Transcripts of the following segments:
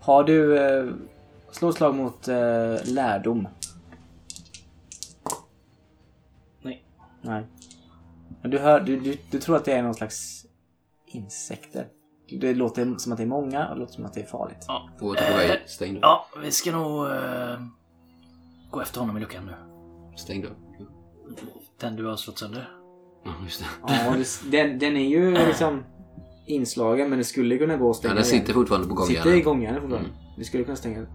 Har du... Eh, slå ett slag mot eh, lärdom. Nej. Nej. Men du, hör, du, du, du tror att det är någon slags insekter. Det låter som att det är många och det låter som att det är farligt. Ja. Vårt är på Eh, väg. Stäng dörren. ja, vi ska nog eh, gå efter honom i luckan nu. Stäng dörren. Den du har slått sönder. Ja, just det. Ja, och det, den, den är ju liksom inslagen men det skulle kunna gå att stänga Ja, den sitter igen. fortfarande på Mm. Sitter i gångjärnet. gångjärnet fortfarande. Vi skulle kunna stänga den.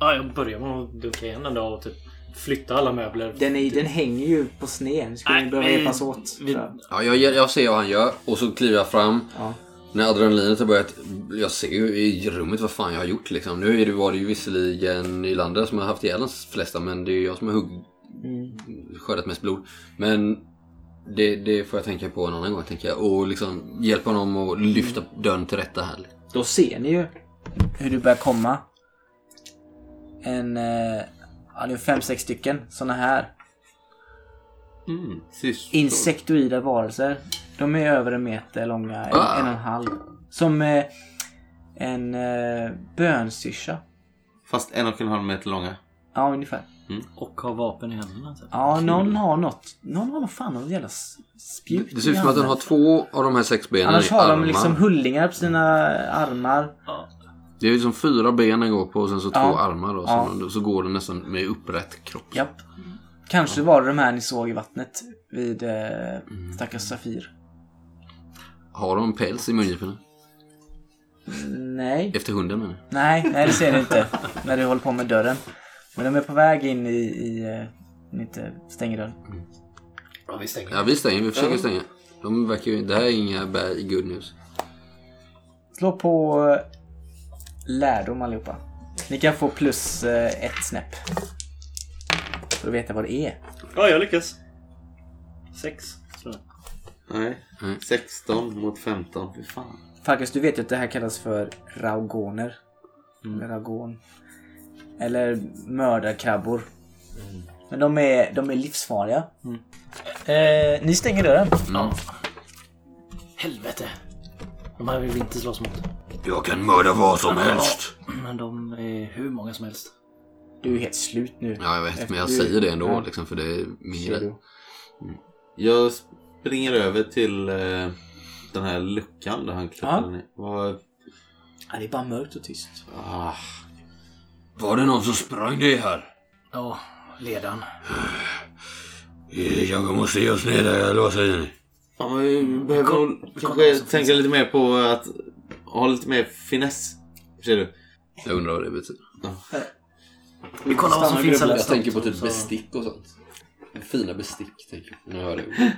Ja, jag börjar med att dunka igen den då och typ flytta alla möbler. Den, är, den hänger ju på sned. Vi skulle Nej, behöva vi- hjälpas åt. vi- tror jag. Ja, jag, jag ser vad han gör och så kliver jag fram. Ja. När adrenalinet har börjat, jag ser ju i rummet vad fan jag har gjort liksom. Nu är det, var det ju visserligen Nylander som har haft ihjäl de flesta men det är ju jag som har hugg, Mm. skördat mest blod. Men det, det får jag tänka på en annan gång tänker jag. Och liksom hjälpa honom att lyfta dörren till rätta här. Då ser ni ju hur det börjar komma. En... Eh, ja, det är fem, sex stycken såna här Mm. insektoida varelser. De är över en meter långa, en, Ah. en och en halv. Som eh, en eh, bönsyrsa. Fast en och en halv meter långa. Ja, ungefär. Och ha vapen i händerna. typ. Ja, någon har något. Någon har nog fan något jävla s- spjut Det ser ut i som att den handen. har två av de här sex benen Annars i har de armar. liksom hullingar på sina armar. Ja. Det är ju som fyra ben den går på och sen så Ja. två armar. Och Ja. sen, så går den nästan med upprätt kropp. Japp. Kanske var det de här ni såg i vattnet vid eh, stackars Safir. Har de päls i mungiporna? Nej. Efter hunden menar jag. Nej, nej det ser du inte när du håller på med dörren. Men de är på väg in i... i eh, om ni inte stänger dörren. ja, vi stänger. Ja, vi stänger. Vi försöker stänga. De verkar ju... Det här är inga bad good news. Slå på eh, lärdom allihopa. Ni kan få plus eh, ett snäpp. För att veta vad det är. Ja, jag lyckas. Sex, tror jag. Nej. Nej. 16 mot 15. Fy fan. Farkas, du vet ju att det här kallas för raugoner. Eller raugon. Eller mördarkrabbor. Men de är, de är livsfarliga. Eh, ni stänger dörren. Mm. Ja. Helvete. De här vill vi inte slåss mot. Jag kan mörda vad som Men de är hur många som helst. Du är helt slut nu. Ja, jag vet. Men jag Du- säger det ändå Ja. liksom, för det är min Ser du. grej. Jag springer över till eh, den här luckan där han klättrade ner. Vad... Ja, det är bara mörkt och tyst. Ah. Var det någon som sprang det här? Ja, ledaren. Eh, Jag måste ge oss ner där, eller vad säger ni? Ja, men vi behöver Kom- nog kom- kanske kom- tänka lite mer på att ha lite mer finess. Ser du? Jag undrar vad det betyder. Vi kollar vad som Stannar finns här gruppen. Jag längst tänker på fram, typ så- bestick och sånt. Fina bestick, tänker jag. Nu hör jag det.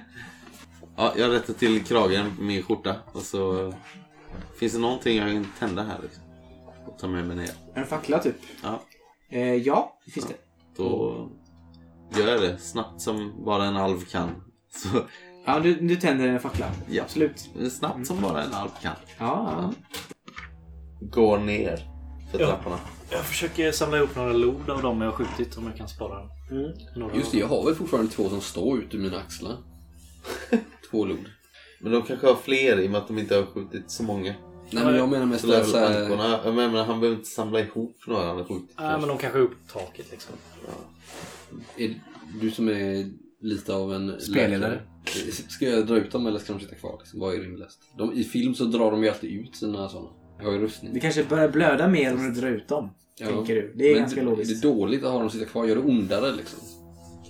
Ja, jag rättar till kragen på min skjorta och så... Finns det någonting jag kan tända här? Liksom? Och ta med mig ner. En fackla typ? Ja, Eh, ja, det finns det. då gör jag det snabbt som bara en alv kan. Så, Ja, du, du tänder en fackla. Ja. Absolut. snabbt som bara en alv kan. Ja. Går ner för Ja. trapporna. Jag försöker samla ihop några lod av dem jag har skjutit om jag kan spara några. Mm. Just det, jag har väl fortfarande två som står ut ur mina axlar. två lod. Men de kanske har fler i och med att de inte har skjutit så många. Nej, men jag menar mest Så lär att väl så här, ankorna... Jag menar, han behöver inte samla ihop några han har skjutit. Nej, men de kanske är uppe på taket liksom. är du som är lite av en Spelledare. läkare, Ska jag dra ut dem eller ska de sitta kvar? Liksom? Vad är rimligast? De, I film så drar de ju alltid ut sina sådana. Jag har ju Det rustning. kanske börjar blöda mer om du drar ut dem. Ja. Tänker du. Det är Men ganska logiskt. Är det dåligt att ha dem sitta kvar? Gör det ondare liksom?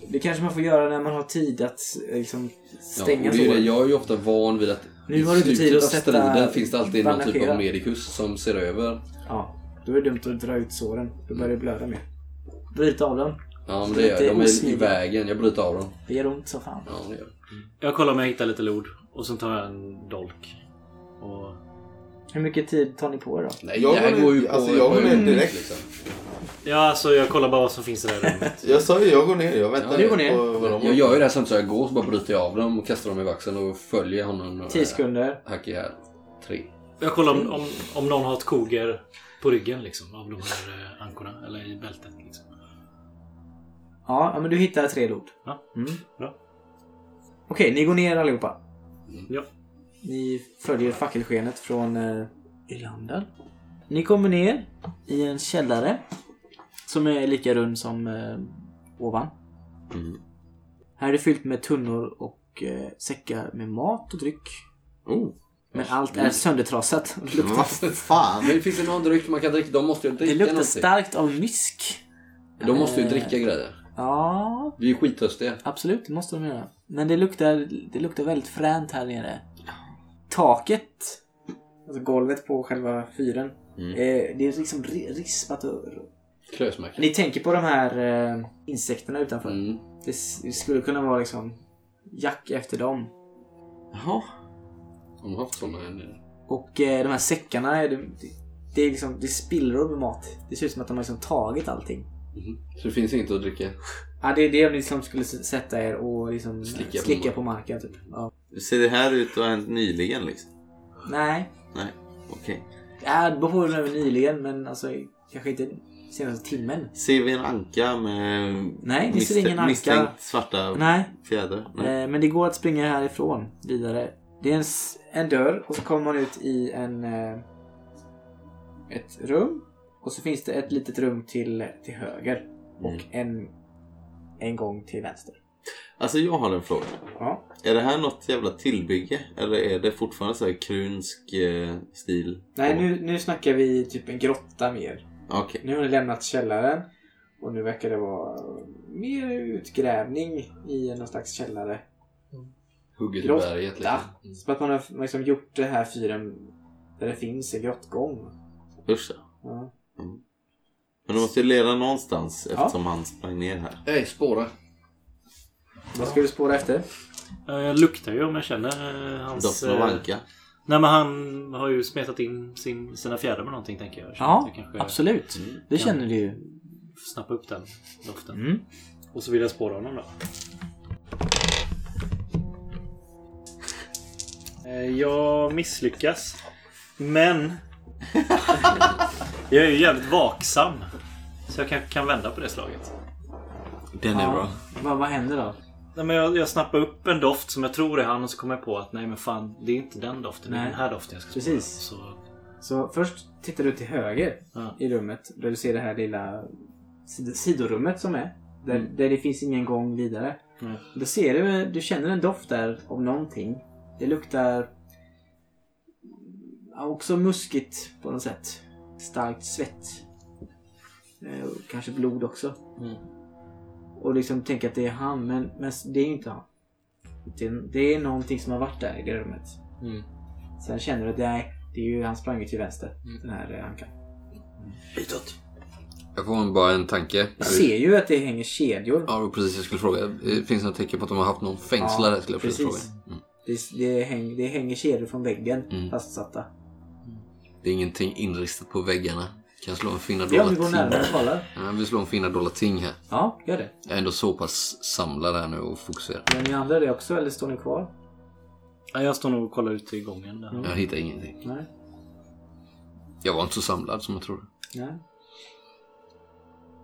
Det kanske man får göra när man har tid att eh, liksom, ja, stänga och det är det. såret. Jag är ju ofta van vid att Nu har du inte tid slutet att av sätta- striden finns det alltid någon typ bandagera. av medikus som ser över. Ja, då är det dumt att dra ut såren. Då börjar det blöda mer. Bryt av dem. Ja, Så men det det är är, lite de är i osmidigt. vägen. Jag bryter av dem. Det gör ont som fan. Ja, det gör jag. Jag kollar om jag hittar lite lod och sen tar jag en dolk. Och... Hur mycket tid tar ni på er då? Nej, Jag det här går går ju ner- på... alltså, jag på går ner ögonblick, direkt. liksom. Ja, alltså jag kollar bara vad som finns i det här rummet. Jag sa ju jag går ner. Jag väntar Ja, du går ner. på vad de Jag gör ju det här samtidigt som jag går, så bara bryter jag av dem och kastar dem i vaxen och följer honom. några 10 sekunder. Hack i här. Tre. Jag kollar om, om, om någon har ett koger på ryggen liksom, av de här eh, ankorna. Eller i bältet. Liksom. Ja, ja, men du hittar tre lod. Ja. Mm. Bra. Okej, ni går ner allihopa. Ja. Ni följer fackelskenet från eh, Irlanda. Ni kommer ner i en källare som är lika rund som eh, ovan. Mm. Här är det fyllt med tunnor och eh, säckar med mat och dryck. Oh. Men allt är söndertrasat. Det luktar, Vad fan? Mm. Men finns det någon dryck man kan dricka? De måste ju dricka det luktar någonting. starkt av mysk. De måste ju dricka grejer. Ja, Vi är skittörstiga. Absolut, det måste de göra. Men det luktar, det luktar väldigt fränt här nere. Taket, alltså golvet på själva fyren, eh, det är liksom ri- rispat och... Klösmärken. Ni tänker på de här eh, insekterna utanför. Mm. Det, s- det skulle kunna vara liksom jack efter dem. Jaha. De har haft sådana här nere. Och eh, de här säckarna, är det, det är liksom det är spillror med mat. Det ser ut som att de har liksom tagit allting. Så det finns inget att dricka. Ja, det är det om ni liksom skulle s- sätta er och liksom Slicka slicka, på på, marken. marken. Typ. Ja. Ser det här ut att ha hänt nyligen liksom? Nej, Nej. Okej. Ja, det beror över nyligen men alltså kanske inte senaste timmen. Ser vi en anka med Nej, vi ser misstän- ingen anka. misstänkt svarta Nej, fjäder? Nej. eh, men det går att springa härifrån vidare. Det är en, s- en dörr och så kommer man ut i en, eh, ett rum. Och så finns det ett litet rum till, till höger och Mm. en, en gång till vänster. Alltså jag har en fråga. Ja. Är det här något jävla tillbygge? Eller är det fortfarande så här krunsk eh, stil? Nej, nu, nu snackar vi typ en grotta mer. Okej. Nu har ni lämnat källaren och nu verkar det vara mer utgrävning i någon slags källare. Hugget i Grotta. berget liksom. Ja, Mm. som att man har liksom gjort det här fyren där det finns en grottgång. Usch då. Ja. Men de måste ju leda någonstans Ja. eftersom han sprang ner här. Ey, spåra. Vad ska du spåra efter? Eh, Jag luktar ju om jag känner eh, hans... Doften av eh, anka. Nej men han har ju smetat in sin, sina fjädrar med någonting tänker jag. jag. känner att jag kanske absolut. Mm. Det känner du ju. Snappa upp den doften. Mm. Och så vill jag spåra honom då. Eh, Jag misslyckas. Men... jag är ju jävligt vaksam. Så jag kanske kan vända på det slaget. Den är bra. Vad, vad händer då? Nej, men jag, jag snappar upp en doft som jag tror är han och så kommer jag på att nej men fan det är inte den doften. Det är Nej. den här doften jag ska spåra. Precis. Så, Så först tittar du till höger ja. i rummet där du ser det här lilla sid- sidorummet som är. Där, där det finns ingen gång vidare. Mm. Nej. Då ser du, du känner en doft där av någonting. Det luktar ja, också muskigt på något sätt. Starkt svett. Eh, och Kanske blod också. Mm. Och liksom tänker att det är han, men, men det är ju inte han. Det, det är någonting som har varit där i det rummet. Mm. Sen känner du att nej, det är ju, han sprang ju till vänster. Den här eh, ankan. Jag får bara en tanke. Jag ser ju att det hänger kedjor. Ja, det var precis. Jag skulle fråga. Eh, Finns det några tecken på att de har haft någon fängslare? skulle jag precis. precis. fråga. Mm. Det, det, häng, det hänger kedjor från väggen Mm. fastsatta. Det är ingenting inristat på väggarna. Kan jag slå en finna Ja, dolda om du går närmare och ting? kollar. Ja, vi slår en finna dolda ting här. Ja, gör det. Jag är ändå så pass samlad här nu och fokuserad. Gör ni andra det också eller står ni kvar? Ja, Jag står nog och kollar ut i gången. Där. Jag hittar ingenting. Nej. Jag var inte så samlad som jag trodde. Nej.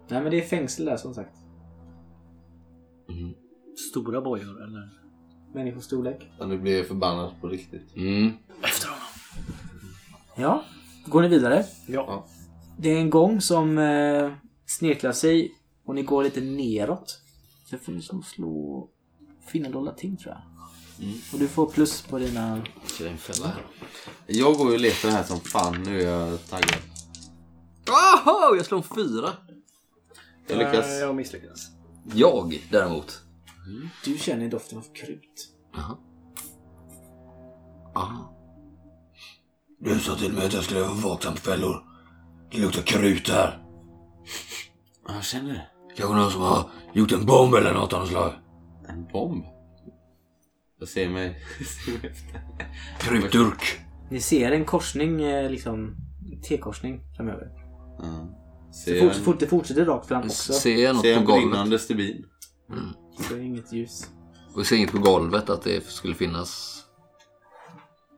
Nej men det är fängsel där som sagt. Mm. Stora bojor eller? Människostorlek. Ja, nu blir jag förbannad på riktigt. Mm. Efter honom. Ja, går ni vidare? Ja. Det är en gång som eh, snirklar sig och ni går lite neråt. Så får ni som slå finna dolda ting tror jag. Och du får plus på dina... Ska det är en fälla här? Jag går ju och letar här som fan. Nu är jag taggad. Oho, jag slår en fyra! Jag lyckas. Eh, Jag misslyckas. Jag däremot. Du känner doften av krut. Jaha. Aha. Du sa till mig att jag skulle vara vaksam på fällor. Det luktar krut här. Ja, Jag känner det. Kanske någon som har gjort en bomb eller något av något slag. En bomb. Jag ser mig. jag ser mig efter. Krutdurk. Ni ser en korsning, eh, liksom T-korsning framöver. Ja. Det Ser jag fort, en- fort, det fortsätter rakt fram också. Ser jag ser jag något en på golvet? brinnande stubin? Så det är inget ljus. Och ser inget på golvet att det skulle finnas?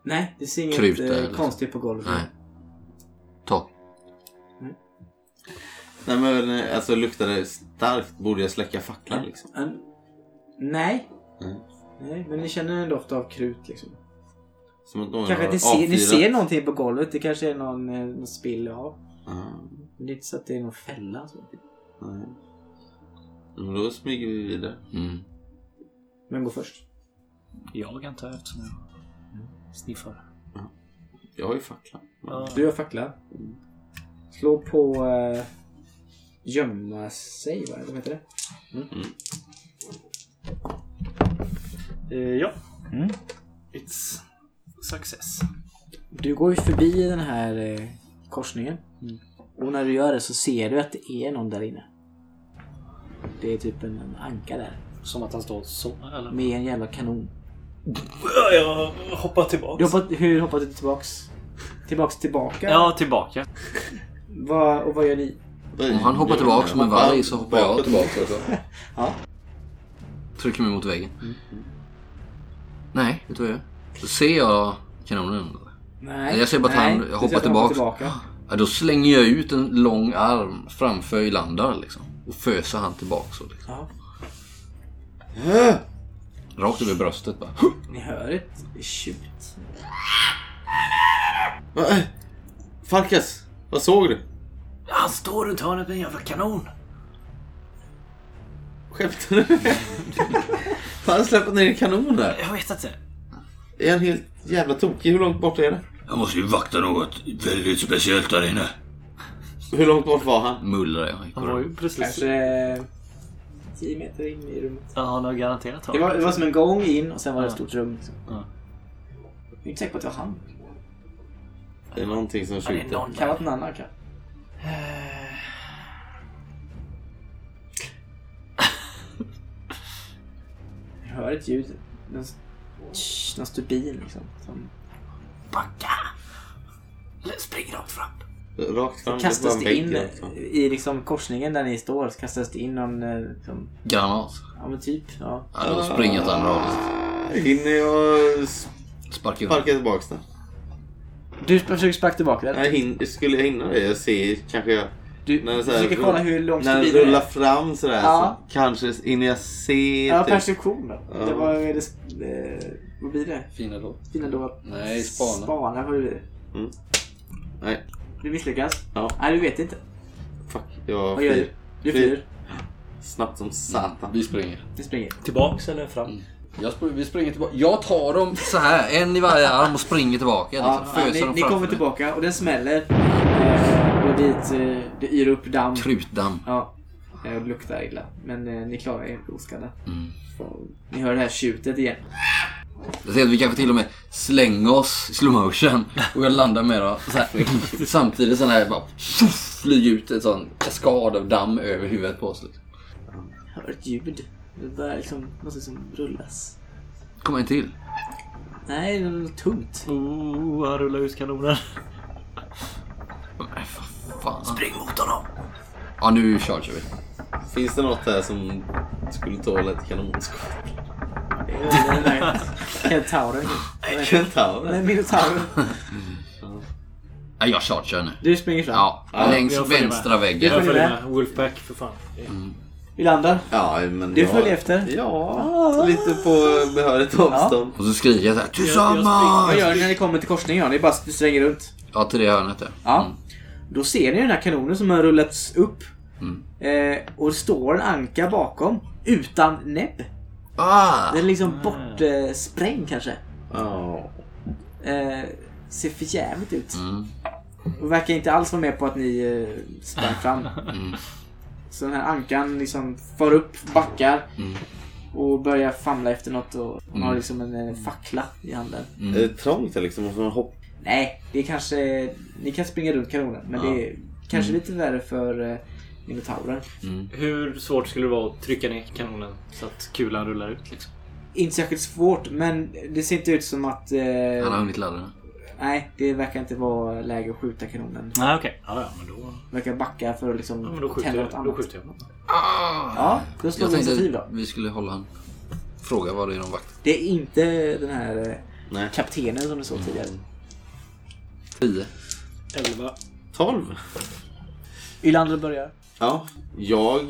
Nej, det ser inget Krut där, eh, liksom. konstigt på golvet. Nej. Ta. Nej men eh, alltså luktar det starkt. Borde jag släcka facklan liksom? En- nej. Mm. nej, men ni känner en doft av krut liksom. Som att någon Kanske har att ni ser, ni avfyrat. ser någonting på golvet. Det kanske är någon, eh, någon spill av. Ja, Men det är inte så att det är någon fälla. Så. nej. Men då smyger vi vidare. Mm. Men gå först. Jag antar jag eftersom jag sniffar. Jag har ju facklan. Du har fackla. Slå på eh, gömma sig, vad vad heter det? Eh, ja. Mm. It's success. Du går ju förbi den här eh, korsningen. Och när du gör det så ser du att det är någon där inne. Det är typ en, en anka där. Som att han står så eller? Med en jävla kanon. Jag hoppar Du tillbaka. hoppat, hur hoppade du tillbaks? Tillbaks tillbaka? Ja, tillbaka. Vad- och vad gör ni? Om han hoppar tillbaka som en varg så hoppar jag Bakåt. tillbaka alltså. också. Ja. Trycker mig mot väggen. Nej, vet du vad jag gör? Då ser jag kanonen. Nej. Jag ser bara att han du ser hoppar att tillbaks. Ja, då slänger jag ut en lång arm framför Ylandar liksom. Och föser han tillbaka så. Liksom. Ja. Rakt över bröstet bara. Ni hör ett tjut. Va? Äh, Farkas, vad såg du? Han står runt hörnet med en jävla kanon. Skämtar du? Har han släppt ner en kanon där? Jag vet inte. Är han helt jävla tokig? Hur långt bort är det? Jag måste ju vakta något väldigt speciellt där inne. Hur långt bort var han? Mullrar jag. i Han var korridoren. ju precis... Kanske eh, 10 meter in i rummet. Ja, han har garanterat hört. Det var, det var som en gång in och sen var det ett Ja. stort rum. Liksom. Ja. Jag är inte säker på att det var han. Det är någonting som Ja, det är skjuter. någon Det kan ha där. varit en annan kanske. Jag hör ett ljud. Någon, tsch, någon stubin liksom. Som Backa! Eller Spring rakt fram. Rakt fram. kastas är det bara en in vägg rakt fram. i liksom korsningen där ni står. Så kastas det in någon, eh, liksom, Granat. ja men typ. Ja. Ja, då springer jag åt andra hållet. Hinner jag Sparkar iväg. sparka tillbaka den? Du försöker sparka tillbaka den. Nej, hin- skulle jag hinna det? Jag ser kanske jag... Du när det så här- försöker kolla hur långt När den stubinen rullar är. fram sådär Ja. så kanske hinner jag se Ja, typ. perception då. Ja. Det var, det, eh, vad blir det? Fina då. Fina då. Nej, spana. Spana vad blir det? Nej, Du misslyckas? Ja. Nej, du vet inte. fuck. Jag Vad gör du? flyr. Du Flyr. flyr. Snabbt som satan. Vi springer. Du springer. Tillbaks eller fram? Jag spr- vi springer tillbaka. Jag tar dem så här, en i varje arm och springer tillbaka. Liksom. Ja, Föser ni, dem ni framför kommer mig. tillbaka och den smäller. Eh, och dit, eh, det yr upp damm. Krutdamm. Ja. eh, Och det luktar illa. Men eh, ni klarar er oskadda. Mm. Och Ni hör det här tjutet igen. Jag ser att vi kanske till och med slänger oss i slow motion och jag landar med dem så här. Samtidigt sån här bara tjoff, flyger ut en sån kaskad av damm över huvudet på oss. Liksom. Hör ett ljud. Det börjar liksom, någonting som rullas. Kommer en till. Nej, det är något tungt. Oh, han rullar ut kanonen. Nej, för fan. Spring mot honom! Ja, nu chargear vi. Mm. Finns det något här som skulle tåla ett kanonskott? Det är den där Kentauren. Kentaurer? Nej, minotauren. Nej, jag chargear nu. Du springer fram. Ja, Ja, längs jag följer med. vänstra väggen. Jag Jag följer följer med. med. Mm. Wolfpack för fan. Vi landar. Ja, men Du jag... följer Ah. efter. Ja, lite på behörigt avstånd. Och så skriker jag så här Vad tillsammans! gör ni när ni kommer till korsningen? då? Det är bara att du svänger runt. Ja, till det hörnet där. Ja. Då ser ni den här kanonen som har rullats upp. Mm. Eh, och det står en anka bakom. Utan näbb. Ah! Den är liksom bortsprängd eh, sprängd kanske. Ja. Eh, ser för jävligt ut. Mm. Och verkar inte alls vara med på att ni eh, sprang fram. Mm. Så den här ankan liksom far upp, backar. Mm. Och börjar famla efter något och hon har Mm. liksom en eh, fackla i handen. Mm. Är det trångt här liksom? Måste man hoppa? Nej, det är kanske... Ni kan springa runt kanonen men Ja. det är kanske Mm. lite värre för eh, minotauren. Hur svårt skulle det vara att trycka ner kanonen så att kulan rullar ut liksom? Inte särskilt svårt men det ser inte ut som att... Han har Eh, hunnit ladda den. nej, det verkar inte vara läge att skjuta kanonen. Nej Ah, okej. Ja, ja, men då... Verkar backa för att liksom Ja, men då skjuter tända något jag. Då annat. skjuter jag. Ja, då slår Jag vi Ah! tänkte initiativ då. att vi skulle hålla han. Fråga vad det är de vaktar. Det är inte den här eh, Nej. kaptenen som du såg tidigare. Mm. 10. 11. 12? Ylander börjar. Ja. Jag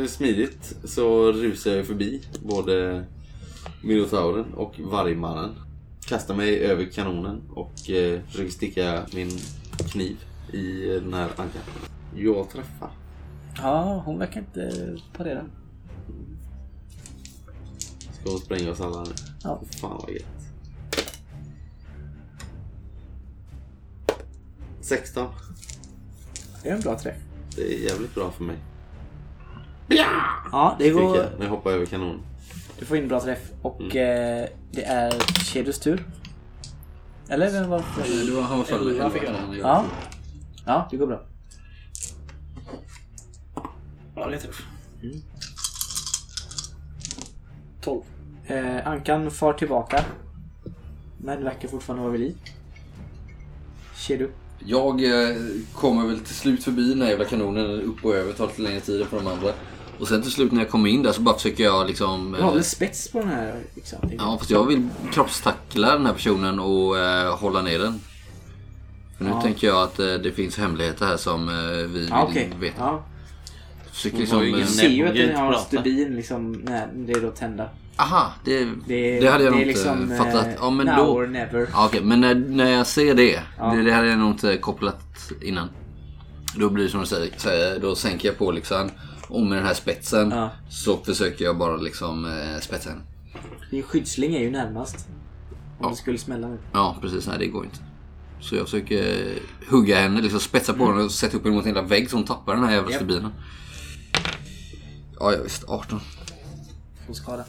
eh, smidigt så rusar jag förbi både Minotauren och Vargmannen. kastar mig över kanonen och eh, försöker sticka min kniv i den här ankan. Jag träffar. Ja, hon verkar inte parera. Ska hon spränga oss alla nu? Ja. Fan vad gött. 16. Det är en bra träff. Det är jävligt bra för mig. Ja, det Fick går. jag när jag hoppar över kanonen. Du får in en bra träff. Och Mm. eh, det är Shedus tur. Eller vem var Det var, han var före Elva fick jag den. han Ja. Ja, det går bra. Ja, det är tufft. Mm. 12. Eh, Ankan far tillbaka. Men verkar fortfarande vara vid liv. Shedu. Jag eh, kommer väl till slut förbi den här jävla kanonen upp och över, tar lite längre tid än på de andra. Och sen till slut när jag kommer in där så bara försöker jag liksom... Du har väl spets på den här liksom? tänker jag. ja, fast jag vill kroppstackla den här personen och eh, hålla ner den. För nu Ja. tänker jag att eh, det finns hemligheter här som eh, vi Ja, vill okej. veta. Ja. Försöker Hon liksom... har ju ingen- eh, Du Nej, ser ju hon att kan den inte har prata. stubin liksom när det är då tända. eh, Aha, det, Det, det, hade jag det nog är inte liksom, eh, fattat. Ja, men now då... or never. Ja, okej, men när, när jag ser det, Ja. det, det hade jag nog inte kopplat innan. Då blir det som du säger- säger, då sänker jag på liksom. Och med den här spetsen Ja. så försöker jag bara liksom eh, spetsa henne. Din skyddsling är ju närmast. Om det skulle smälla nu. Ja, precis. Nej, det går inte. Så jag försöker eh, hugga henne, liksom spetsa på henne och sätta upp henne mot en jävla vägg så hon tappar den här jävla Mm. Japp. stubinen. Ja, ja, visst. 18. Får skada.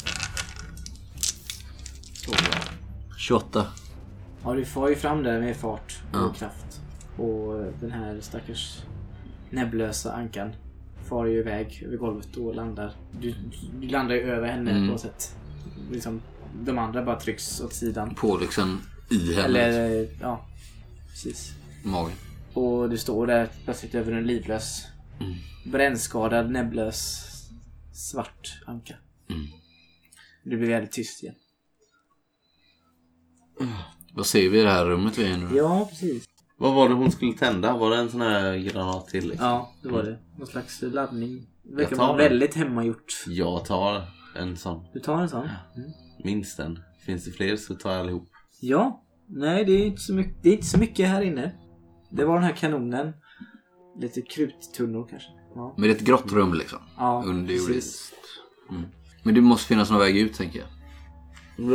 28. Ja, du far ju fram där med fart och Ja. kraft. Och eh, den här stackars näbblösa ankan far ju iväg över golvet och landar. Du, du landar ju över henne Mm. på något sätt. Liksom, de andra bara trycks åt sidan. På liksom i henne, liksom, Eller, eh, ja. Precis. magen. Och du står där plötsligt över en livlös, brännskadad, näbblös, svart anka. Mm. Du blir väldigt tyst igen. Vad ser vi i det här rummet vi är i nu? Ja, precis. Vad var det hon skulle tända? Var det en sån här granat till? Liksom? Ja, det var det. Någon slags laddning. Det verkar Jag tar vara den. väldigt hemmagjort. Jag tar en sån. Du tar en sån? Mm. Minst en. Finns det fler så tar jag allihop. Ja. Nej, det är, inte så mycket, det är inte så mycket här inne. Det var den här kanonen. Lite kruttunnor kanske. Ja, Men det är ett grått rum liksom. ja Underjordiskt. precis. Mm. Men det måste finnas någon väg ut tänker jag.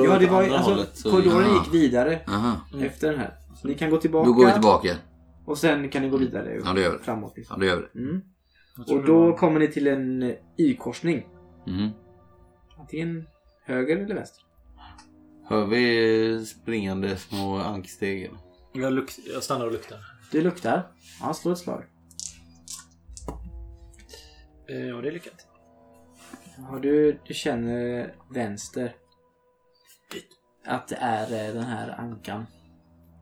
Ja, det var ju... Andra Alltså, hållet, så- korridoren Ja. gick vidare Aha. efter den här. Så ni kan gå tillbaka. Då går vi tillbaka. Och sen kan ni gå vidare. Mm. Ja, det gör vi. Framåt. Ja, Liksom. det gör vi. Mm. Och då kommer ni till en Y-korsning. Mm. Antingen höger eller vänster. Hör vi eh, springande små anksteg? eller? Jag, luk- jag stannar och luktar. Det luktar. Ja, slå ett slag. Eh, Ja, det är lyckat. Ja, du, du känner vänster. Att det är eh, den här ankan.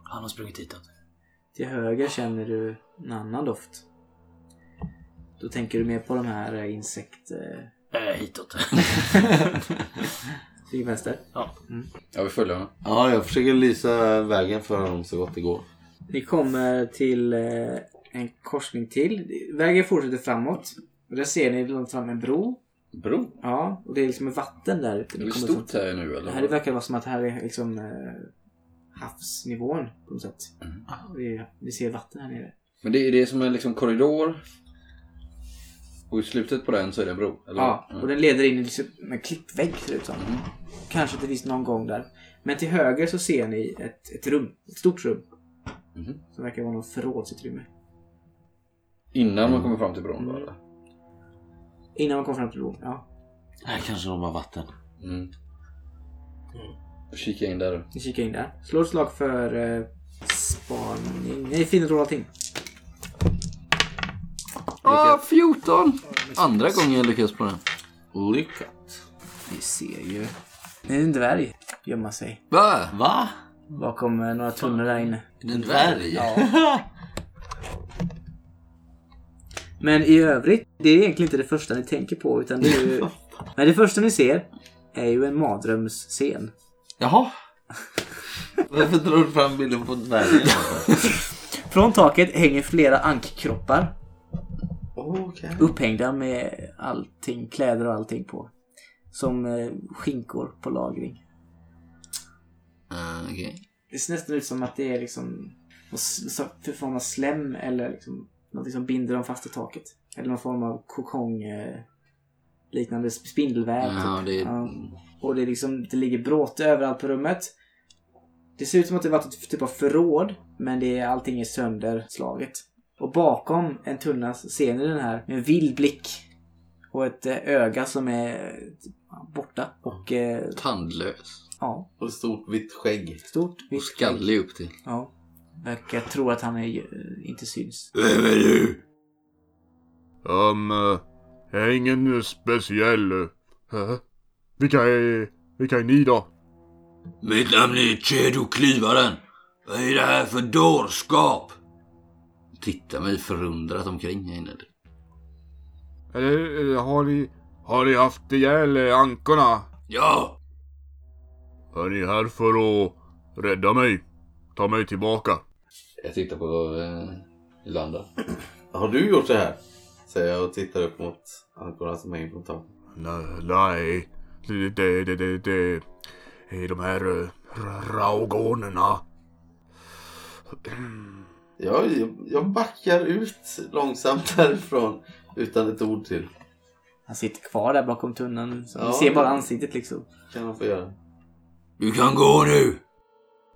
Han har sprungit hitåt. Till höger känner du en annan doft. Då tänker du mer på de här eh, insekt... eh, Äh, hitåt. Till vänster. ja. Ja, vi följer honom. Ja, jag försöker lysa vägen för honom så gott det går. Ni kommer till eh, en korsning till. Vägen fortsätter framåt. Och där ser ni långt fram en bro. Bro, Ja, och det är liksom ett vatten där ute. är det kommer som- stort här nu Det eller? här verkar vara som att det här är liksom eh, havsnivån på något sätt. Mm. Vi, vi ser vatten här nere. Men det är, det är som en liksom korridor. Och i slutet på den så är det en bro. Eller? Ja, Mm. och den leder in i liksom en klippvägg ser det ut som. Mm. Kanske att det finns någon gång där. Men till höger så ser ni ett, ett rum. Ett stort rum. Mhm. Som verkar vara något förrådsutrymme. Innan man kommer fram till bron Mm. då eller? Innan man kommer fram till bron. Ja, Här kanske de har vatten. Mm. Kika in där. ni kikar in där. Slå ett slag för eh, spaning. Nej, fint och allting. Ah, 14! Andra gången jag lyckas på den. Lyckat. Vi ser ju. Det är en dvärg gömma sig. Va? Va? Bakom eh, några tunnor där inne. En dvärg? Men i övrigt, det är egentligen inte det första ni tänker på. Utan det är ju... Men det första ni ser är ju en mardrömsscen. Jaha. Varför drar du fram bilden på dvärgen? Från taket hänger flera ankkroppar Okej. upphängda med allting, kläder och allting på. Som eh, skinkor på lagring. Eh, Okej. Det ser nästan ut som att det är liksom någon s- så- för form av slem eller liksom någonting som binder dem fast i taket. Eller någon form av kokong eh, liknande sp- spindelväv. typ. Ja, det Ja. Och det, är liksom, det ligger bråte överallt på rummet. Det ser ut som att det varit ett typ av förråd, men det är, allting är sönderslaget. Och bakom en tunna ser ni den här med en vild blick och ett eh, öga som är eh, borta. Och eh, Tandlös. ja, Och ett stort vitt skägg. stort. Och vitt skägg. skallig upp till. Ja. Verkar tro att han är, eh, inte syns. Vem är du? Um, eh, jag är ingen eh, speciell. Uh, vilka är, vilka är ni då? Mitt namn är Chedo Klyvaren. Vad är det här för dårskap? Titta mig förundrat omkring här inne. Eller, eller har ni, har ni haft ihjäl eh, ankorna? Ja! Är ni här för att rädda mig? Ta mig tillbaka. Jag tittar på eh, Landa. Har du gjort det här? Säger jag och tittar upp mot ankorna som hänger från taket. Nej, nej. Det, det, det, det, det är de här uh, raugonerna. Jag, jag backar ut långsamt därifrån utan ett ord till. Han sitter kvar där bakom tunnan. Så Ja. Ni ser bara ansiktet liksom. Kan han få göra. Du kan gå nu!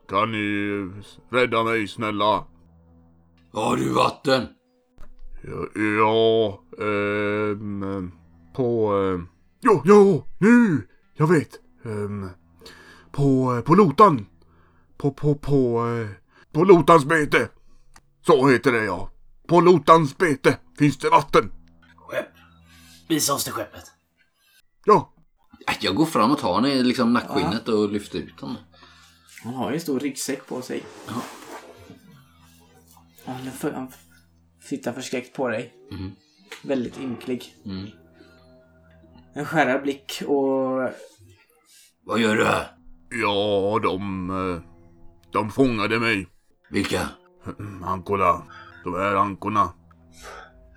Kan ni eh, rädda mig snälla? Har du vatten? Ja, ja ehm, ehm, på... ehm, Jo, jo, nu! Jag vet! Ehm, på, eh, på Lotan! På, på, på... eh, På Lotans bete! Så heter det ja. På Lotans bete finns det vatten. Skepp. Visa oss till skeppet. Ja, Äh, Jag går fram och tar henne i liksom nackskinnet och lyfter ut henne. Han har ju en stor ryggsäck på sig. Ja. Ja, Han, för, han tittar förskräckt på dig. Mhm. Väldigt ynklig. Mm. En skärrad blick och Vad gör du här? ja de... eh, De fångade mig. Vilka? Mm, Ankorna. De här ankorna.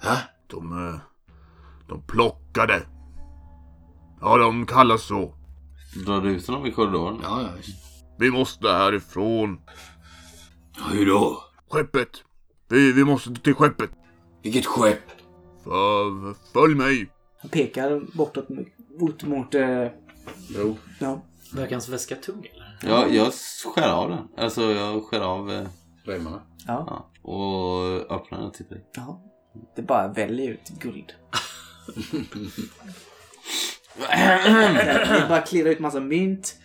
Hä? De... eh, De plockade. Ja, de kallas så. Drar du ut honom i korridoren? Ja, ja, visst. Vi måste härifrån. Hur då? Skeppet! Vi, vi måste till skeppet! Vilket skepp? F- följ mig! han pekar bortåt mot, mot, mot eh, Jo. ja, Verkar hans väska tung eller? Ja, jag skär av den. Alltså jag skär av eh, Remmarna. ja, ja, och öppnar den och tittar i. ja. Det bara väljer ut guld. Det bara klirrar ut massa mynt.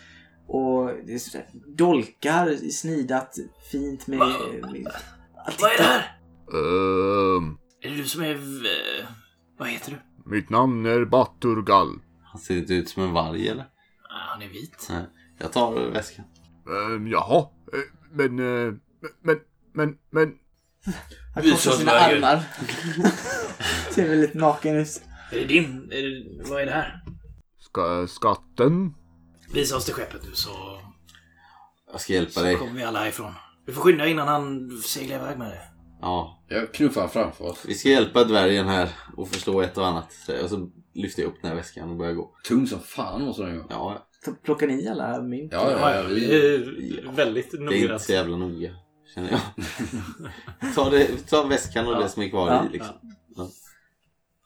Och det är sådär, dolkar snidat fint med... med Vad är det här? Ehm, Är det du som är... v- eh, Vad heter du? mitt namn är Baturgal. Han ser inte ut som en varg eller? Ah, han är vit. Nej. Jag tar väskan. Ehm, jaha, Eh, men, eh, men, men, men... han Visa korsar oss sina vägen. armar. Ser väldigt naken ut. Är det din? Är det... Vad är det här? Ska, skatten? Visa oss till skeppet nu så, Jag ska hjälpa så dig. kommer vi alla härifrån. Du får skynda innan han seglar iväg med det. Ja. Jag knuffar framför oss. Vi ska hjälpa dvärgen här och förstå ett och annat. säger jag. Och så lyfter jag upp den här väskan och börjar gå. Tung som fan måste den ju vara. Ja, Plockar ni alla mynt? Ja, Eh, ja, ja. Vi... vi är väldigt det är inte så jävla noga. Känner jag. ta, det, ta väskan och Ja. det som är kvar Ja. i liksom. Ja,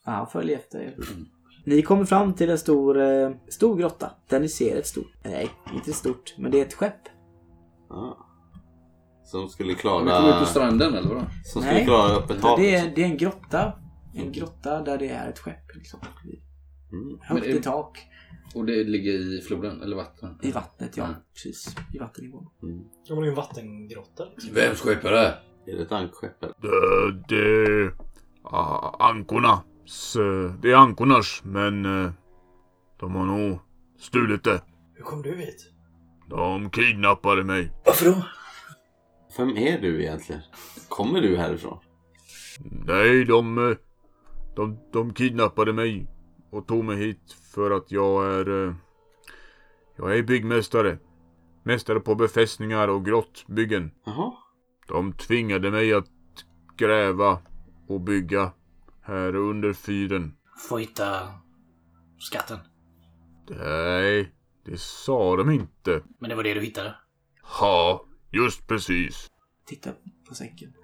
han följer efter er. Ni kommer fram till en stor, eh, stor grotta där ni ser ett stort, nej inte ett stort, men det är ett skepp. Ja. Som skulle Har vi kommit ut klara... på stranden eller vadå? Som Nej. skulle klara öppet hav. liksom. Det är, det är en grotta. En grotta där det är ett skepp. Liksom. Mm. Högt Men det- i tak. Och det ligger i floden, eller vatten? I vattnet, ja. Mm. Precis. I vattennivån. Ja, men det är en vattengrotta. Vems skepp är det? Är det ett ankskepp eller? Det, det... ah, ankorna. S, det är ankornas, men... eh, De har nog stulit det. Hur kom du hit? De kidnappade mig. Varför då? Vem är du egentligen? Kommer du härifrån? Nej, de, eh, de, de kidnappade mig och tog mig hit för att jag är... eh, Jag är byggmästare. Mästare på befästningar och grottbyggen. Jaha. De tvingade mig att gräva och bygga här under fyren. Får hitta skatten. Nej, det sa de inte. Men det var det du hittade. Ja, just precis. Titta på säcken.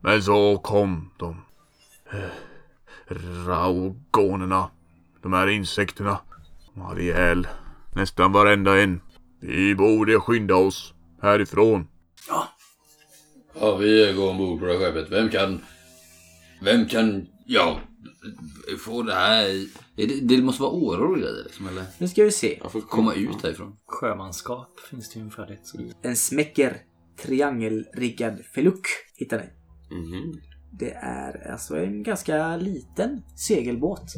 Men så kom de. eh, Raugonerna. De här insekterna. De hade ihjäl nästan varenda en. Vi borde skynda oss härifrån. Ja, vi går ombord på det här skeppet. Vem kan... Vem kan... Ja... Få det här... i- Är Det, det måste vara åror och grejer liksom, eller? Nu ska vi se. Jag får Komma ut härifrån. Sjömanskap finns det ju ungefär det. Så. En smäcker triangelriggad feluk hittar ni. Mhm. Det är alltså en ganska liten segelbåt.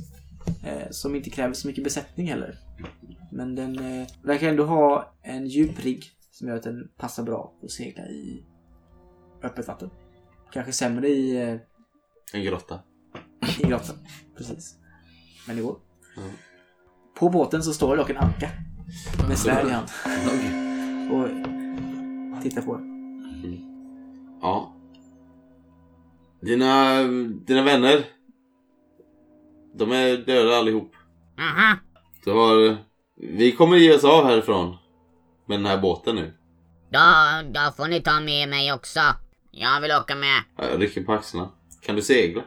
Eh, som inte kräver så mycket besättning heller. Men den eh, verkar ändå ha en djup rigg som gör att den passar bra att segla i öppet vatten. Kanske sämre i, eh, En grotta. i grottan. Precis. Men det går. Mm. På båten så står det dock en anka. Mm. Med svärd i hand. Och tittar på er. Ja. Dina, dina vänner. De är döda allihop. Du har... Vi kommer ge oss av härifrån. Med den här båten nu. Då, då får ni ta med mig också. Jag vill åka med. Jag rycker på axlarna. Kan du segla?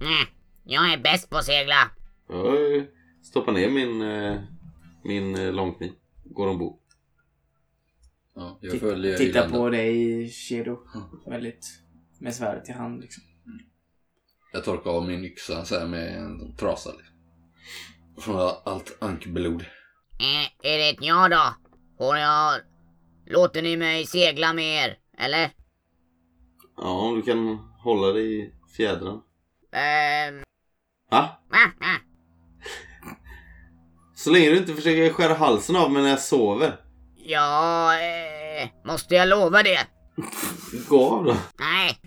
Mm. Jag är bäst på att segla. Jag stoppar ner min, eh, min eh, långkniv. Går ombord. Ja, jag följer Titt, i Mm. tittar landen. på dig Shedo. Väldigt. Med svärdet i hand liksom. Jag torkar av min yxa så här med en trasa. Liksom. Från allt ankblod. Eh, är det ett ja då? Får jag... Låter ni mig segla med er? Eller? Ja, om du kan hålla dig i fjädrarna. Ehm... Va? ah, ah. Så länge du inte försöker skära halsen av mig när jag sover. Ja, eh, måste jag lova det? Gå av då. Nej,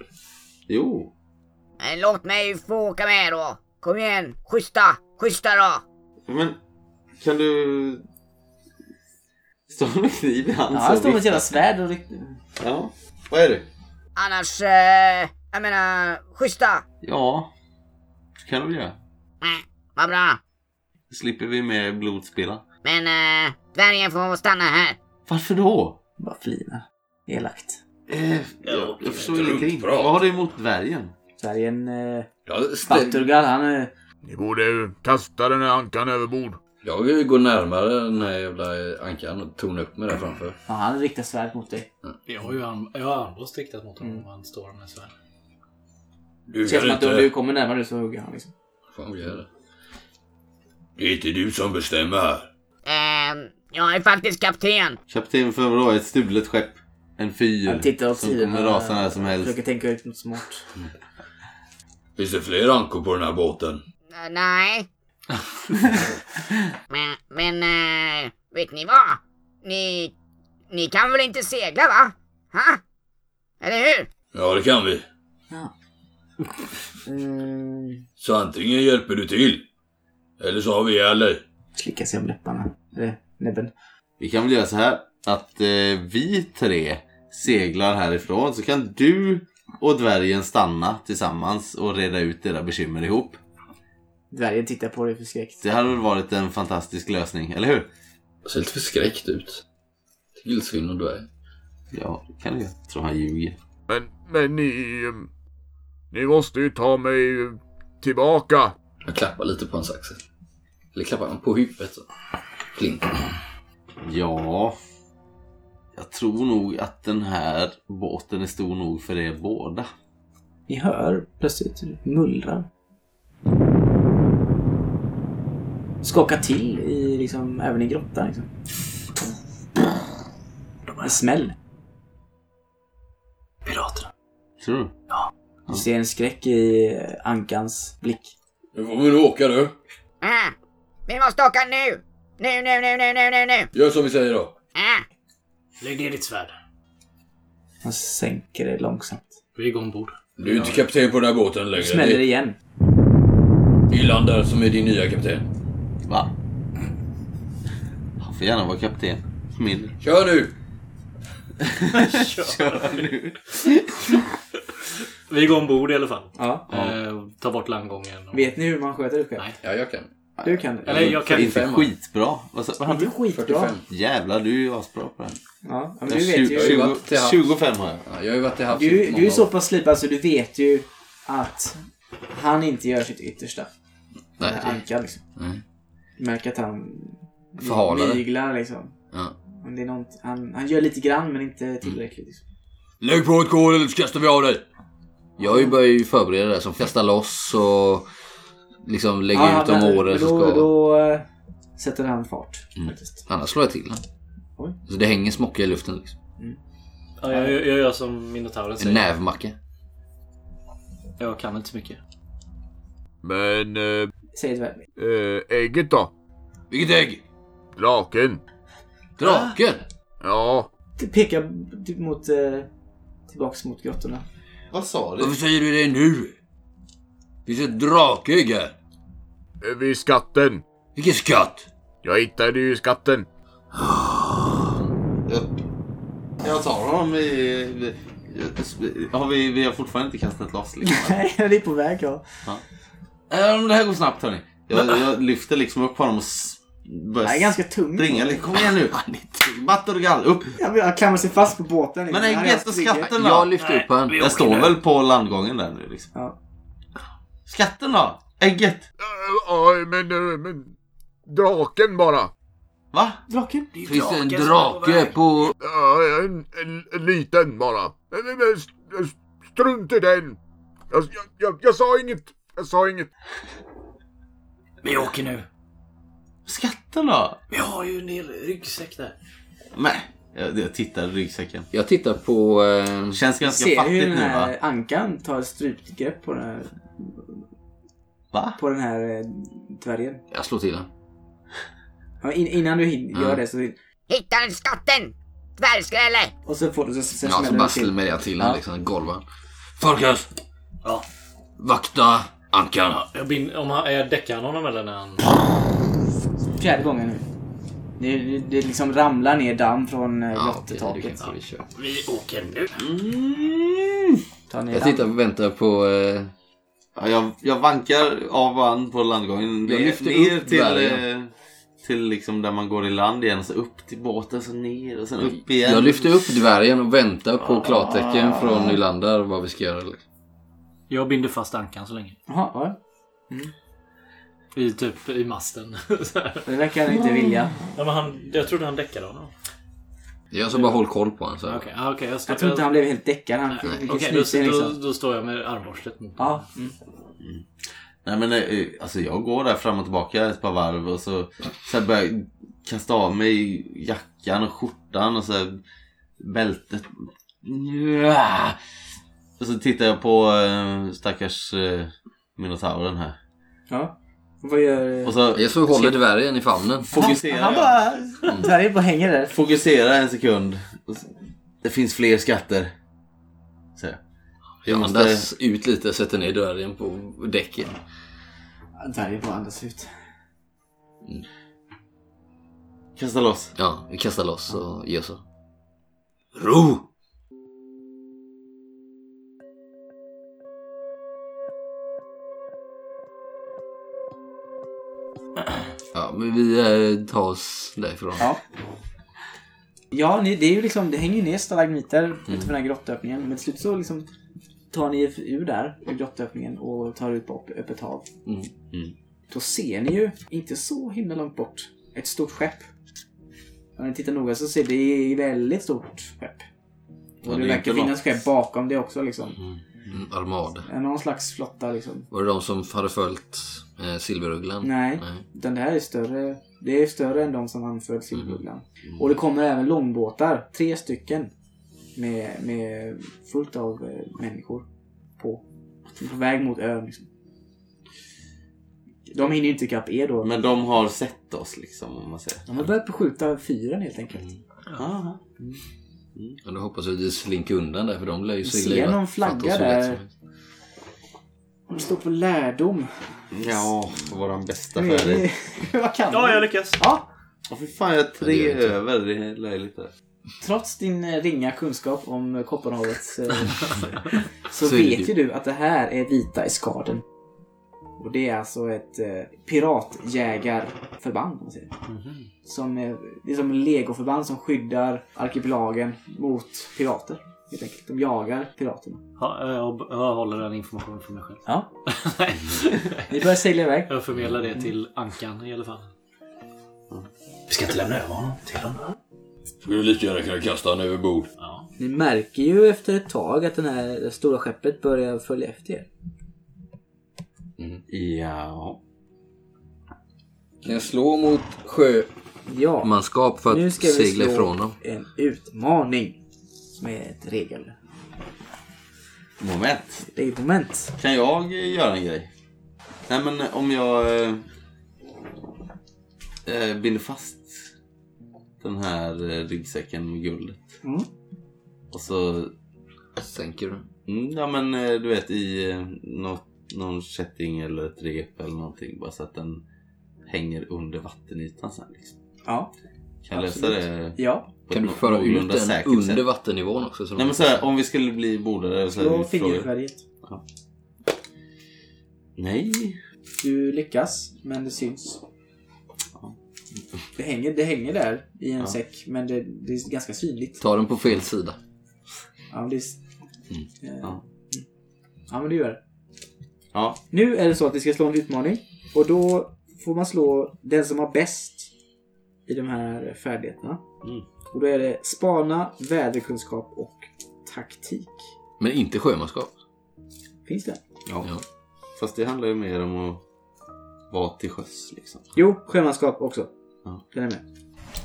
Jo. eh, låt mig få åka med då. Kom igen, schyssta, schyssta då. Men kan du... Står med kniv i hand Ja, så han står med ett jävla viftar- svärd och ryck- Ja. Vad är du? Annars, eh, jag menar, schyssta. Ja. Det kan du väl göra. Eh, vad bra. slipper vi med blodspillan. Men eh, dvärgen får stanna här. Varför då? Bara flinar. Elakt. Eh, jag, jag förstår ingenting. Vad har du emot dvärgen? Så här är en eh, Jag, ställ, Batturgal, han eh, är... Ni borde kasta den här ankan överbord. jag går närmare den här jävla ankan och tonar upp mig där framför. Ja, han riktar svärd mot dig. Jag har ju arm- jag har armbröst riktat mot honom och han står med svärd. Du Det känns som att om du kommer närmare så hugger han liksom. Fan, vad gör det? Det är inte du som bestämmer här. Ehm, jag är faktiskt kapten. Kapten för vadå? Ett stulet skepp? En fyr? Han tittar åt som sidan. kommer rasa när som helst. Försöker tänka ut något smart. Finns det fler ankor på den här båten? Eh, nej. men, men eh, vet ni vad? Ni, ni kan väl inte segla va? Ha? Eller hur? Ja, det kan vi. Mm, Så antingen hjälper du till, eller så har vi ihjäl dig. slickar sig om läpparna. Eller näbben. Vi kan väl göra så här att eh, vi tre seglar härifrån så kan du och dvärgen stanna tillsammans och reda ut era bekymmer ihop. Dvärgen tittar på dig förskräckt. Det hade väl varit en fantastisk lösning, eller hur? Jag ser lite förskräckt ut. Vildsvin och dvärg. Ja, det kan du göra. Jag tror han ljuger. Men, men ni... ehm, Ni måste ju ta mig eh, tillbaka. Jag klappar lite på hans axel. Eller klappar han på huvudet så. Pling. Ja. Jag tror nog att den här båten är stor nog för er båda. Ni hör plötsligt hur det mullrar. Skakar till i, liksom, även i grottan liksom. En smäll. Piraterna. Tror du? Du ser en skräck i eh, ankans blick. Nu får vi nog åka du. Eh, vi måste åka nu! Nu, nu, nu, nu, nu, nu, nu! Gör som vi säger då. Eh, Lägg ner ditt svärd. Han sänker det långsamt. Vi går ombord. Du är inte kapten på den här båten Du längre. smäller igen. Det är Ilander som är din nya kapten. Va? Han får gärna vara kapten. Min. Kör nu! Vi går ombord i alla fall. Ja. Eh, ta bort landgången. Och... Eh, Vet ni hur man sköter det själv? Nej. Ja, jag kan. Du kan det. Eller jag kan inte. inte 45, va? skitbra. Vad sa vad hade Det är du? skitbra. 45. Jävlar, du är ju asbra på den. Ja, men Nej, du vet ju. tjugo- 25 har jag. Ja, jag har ju varit i havs i Du, många du är så år. pass slipad så du vet ju att han inte gör sitt yttersta. Nej, Med Ankan liksom. nej. Du märker att han Förhalar det. myglar liksom. Ja. Men det är något, han, han gör lite grann men Mm. inte tillräckligt. Liksom. Lägg på ett kol eller så kastar vi av dig! Jag har ju börjat ju förbereda det som kasta loss och liksom lägga Ja, ut de men- åren men som då, ska. Mm. då eh, sätter han fart faktiskt. Annars slår jag till den. Oj. Så det hänger smocka i luften liksom. Ja, jag, jag jag gör som minotauren En säger. nävmacka. Jag kan inte så mycket. Men eh, Säger dvärgen. eh, ägget då? Vilket ägg! Draken? Draken! Ja, Pekar typ mot, eh, tillbaks mot grottorna. Vad sa Varför säger du det nu? Det finns ett drakägg här. eh, vid skatten. Vilken skatt! Jag hittade ju skatten. Jag, jag tar honom i... i- i- Har vi, vi har fortfarande inte kastat loss liksom. Nej, det är på väg ja. Äh, men det här går snabbt hörni. Jag, jag lyfter liksom upp honom och s- börjar Det är ganska tungt. springa lite. Kom igen nu. Battergall, upp. Jag vill- Jag klamrar sig fast på båten. Men Här det är är jag gött att trygg. skatten Jag då. lyfter upp han. Jag står väl på landgången där nu liksom. Ja. Skatten då? Ägget? Eh, Ja, men, eh, men... Draken bara. Va? Draken? Finns det en drake på... Ja, en, en, en liten bara. Men, men, men, st- Strunt i den. Jag, jag, jag, jag sa inget. Jag sa inget. Vi åker nu. Skatten då? Vi har ju en hel ryggsäck där. Nej. Jag, jag tittar i ryggsäcken. Jag tittar på... Eh, Det känns ganska Ser hur fattigt den nu va? här ankan tar ett strypgrepp på den här, Va? på den här eh, dvärgen. jag slår till han. Ja, in, innan du hin- gör Ja. det så... Hittade skatten! Dvärgskrälle! Och så får du... Så, så Ja, så smäller bara det till. smäller jag till Ja. han liksom. Golvan. Farkas! Ja. Vakta ankan. Jag bin, om han, jag däckar han honom eller när han... Fjärde gången nu. Det, det, det liksom ramlar ner damm från eh, Ja, okej, det grottetaket. kan vi köra. Vi åker nu. Mm. Ta ner Jag damm. tittar och väntar på... Eh, Ja, jag, jag vankar av och an på landgången. Jag Ner, lyfter ner upp till, bergen. eh, till liksom där man går i land igen. Så upp till båten, så ner och sen upp igen. jag lyfter upp dvärgen och väntar på klartecken från Nylander vad vi ska göra. liksom. Jag binder fast ankan så länge. Jaha, ja. I typ i masten. Så här. Det verkar han inte vilja. ja, men han, jag trodde han däckade honom. Jag så bara håll koll på honom. Så. här. Okej, ah, okej, jag står... Jag tror inte han blev helt däckad. Han fick Okej, mycket okay, då, då, liksom. då står jag med armborstet mot honom. Ja. Mm. Nej men eh, alltså jag går där fram och tillbaka ett par varv och så, så här börjar jag kasta av mig jackan och skjortan och så här, bältet. Nja. Och så tittar jag på eh, stackars eh, minotauren här. ja. Vad gör... eh, Och så Jag så håller dvärgen i famnen. fokuserar Han jag. bara... Mm. Dvärgen bara hänger där. Fokusera en sekund. Det finns fler skatter. Så. Jag måste- andas ut lite och sätter ner dörren på däcken. Dvärgen bara andas ut. Mm. Kasta loss. Ja, vi kastar loss och gör så. Ro! Ja, men vi eh, tar oss därifrån. Ja. Ja, ni, det, är ju liksom, det hänger ju ner stalagmiter Mm. utanför den här grottöppningen. Men till slut så liksom tar ni er ur där, ur grottöppningen och tar ut på upp- öppet hav. Mm. Mm. Då ser ni ju, inte så himla långt bort, ett stort skepp. Om ni tittar noga så ser det det är väldigt stort skepp. Ja, Och det, det är verkar inte finnas skepp bakom det också liksom. Mm, Armad. Någon slags flotta liksom. Var det de som hade följt eh, Silverugglan? Nej. Nej. Utan det här är större. Det är större än de som anföll Silverugglan. Och det kommer även långbåtar. Tre stycken. Med, med fullt av eh, människor på. Som är På väg mot ön. Liksom. De hinner ju inte ikapp er då. Men de har sett oss liksom om man säger. De har börjat beskjuta fyren helt enkelt. Aha. Men Mm. då hoppas jag att vi slinker undan där för de lär ju Mm. Vi segla ser i någon vatt- flagga vatten så lätt där. som helst. De står på lärdom. Ja, våran bästa Mm. Hur är färdig. det? Vad kan Ja, du? jag lyckas. Ja, Åh fy fan, jag har Ja, det tre är inte- över. Det är löjligt. där. trots din eh, ringa kunskap om eh, Kopparhavets eh, så Så är det vet ju du att det här är vita eskaden. Och det är alltså ett eh, piratjägarförband. om man säger. Som, eh, det är som en legoförband som skyddar arkipelagen mot pirater. Helt enkelt. De jagar piraterna. Ha, jag, jag håller den informationen för mig själv. Ja, Nej. vi börjar segla iväg. jag förmedlar det till Ankan i alla fall. Mm. Vi ska inte lämna över honom till honom. Skulle du lika gärna kunna kasta honom över bord? Ja. Ni märker ju efter ett tag att det här stora skeppet börjar följa efter er. Ja. Kan jag slå mot sjömanskap Ja, för nu att ska vi segla slå ifrån dem? en utmaning. Som är ett regel. Moment. regelmoment. Kan jag eh, göra en grej? Nej men eh, om jag eh, eh, binder fast den här eh, ryggsäcken med guldet. Mm. Och så Sänker du? Mm, ja men eh, du vet i eh, något, någon kätting eller ett rep eller någonting. Bara så att den hänger under vattenytan sen. Liksom. Ja. Kan jag lösa Absolut. det? Ja. på Kan du ett föra ut någorlunda den säkert under sätt? vattennivån också? Så Nej men så här, om vi skulle bli bordare. Så här, Slå vi frågar- fingerfärdigt. Nej. Du lyckas, men det syns. Ja. Det hänger, det hänger där i en Ja. säck, men det, det är ganska synligt. Ta den på fel sida. Ja, men det är... s- eh, Mm. Ja. ja, men det gör det. Ja. Nu är det så att vi ska slå en utmaning. Och då får man slå den som har bäst i de här färdigheterna. Mm. Och då är det spana, väderkunskap och taktik. Men inte sjömanskap. Finns det? ja. Ja. Fast det handlar ju mer om att vara till sjöss liksom. Jo, sjömanskap också. Ja. Den är med.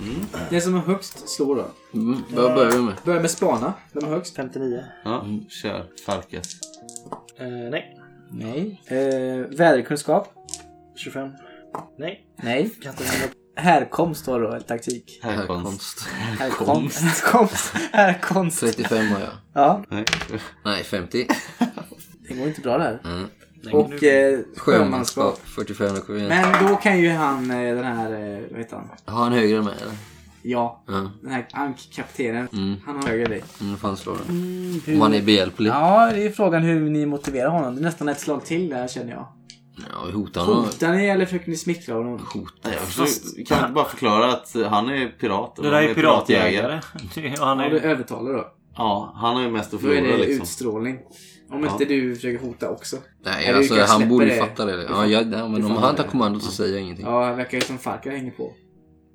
Mm. Den som har högst slår då. Mm, vad börjar vi med? Börja med spana. Vem har högst? 59. Ja, Mm. kör. Farkas. Eh, nej. Nej. Eh, väderkunskap. 25. Nej. Nej. Kan inte hända. Härkomst var då taktik. Härkomst. Härkomst. Härkomst. Härkomst. 35 har jag. Ja, Nej. Nej, 50. det går inte bra där. Mm. Och eh, Sjömanskap sjömanskap. 45. då kommer vi in. Men då kan ju han eh, den här, eh, vad heter han? Har han högre än mig eller? Ja, Ja. den här ankkaptenen. Mm. Han har högre än dig. Mm, fan slår den. Om han är behjälplig. Ja, det är frågan hur ni motiverar honom. Det är nästan ett slag till där känner jag. Ja, vi Ah. hotar honom. Hotar ni eller försöker ni smickra honom? Nej, jag försöker- Kan du inte bara förklara att han är pirat? och Det där han är piratjägare. Och han Ja, du är... övertalar då. Ja, han har ju mest att Då är förlora det liksom. utstrålning. Om Ja. inte du försöker hota också. Nej, Eller alltså jag han borde ju släpper det. fatta det. Ja, fattar- jag, ja, men du om fattar han tar det. kommandot så säger jag ingenting. Ja, det verkar ju som Farkar hänger på.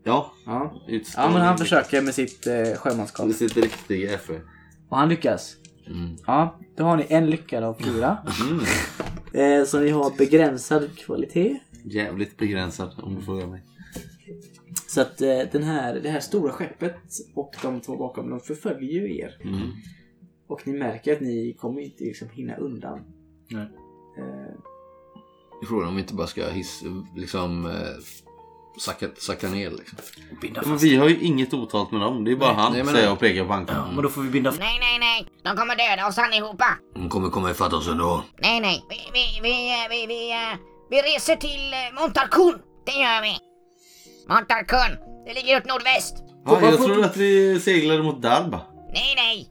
Ja, Ja. utstrålning. ja, men han försöker med sitt eh, sjömanskap. Det sitter riktiga FE. Och han lyckas. Mm. Ja, då har ni en lyckad av fyra. Mm. Eh, så ni har begränsad kvalitet. Jävligt begränsad om du frågar mig. Så att eh, den här, det här stora skeppet och de två bakom dem förföljer ju er. Mm. Och ni märker att ni kommer inte liksom hinna undan. Nej. Eh, Frågan om vi inte bara ska hiss, liksom eh, sacka, sacka ner liksom. Binda Ja, men fast. vi har ju inget otalt med dem. Det är bara han, nej, men- säger jag och pekar på Ankan. Ja, men då får vi binda fast. Nej, nej, nej. De kommer döda oss allihopa. De kommer komma ifatt oss ändå. Nej, nej. Vi, vi, vi, eh, vi, vi, eh, vi reser till eh, Montarkun. Det gör vi. Montarkun. Det ligger åt nordväst. Ja, jag trodde att vi seglade mot Darba. Nej, nej.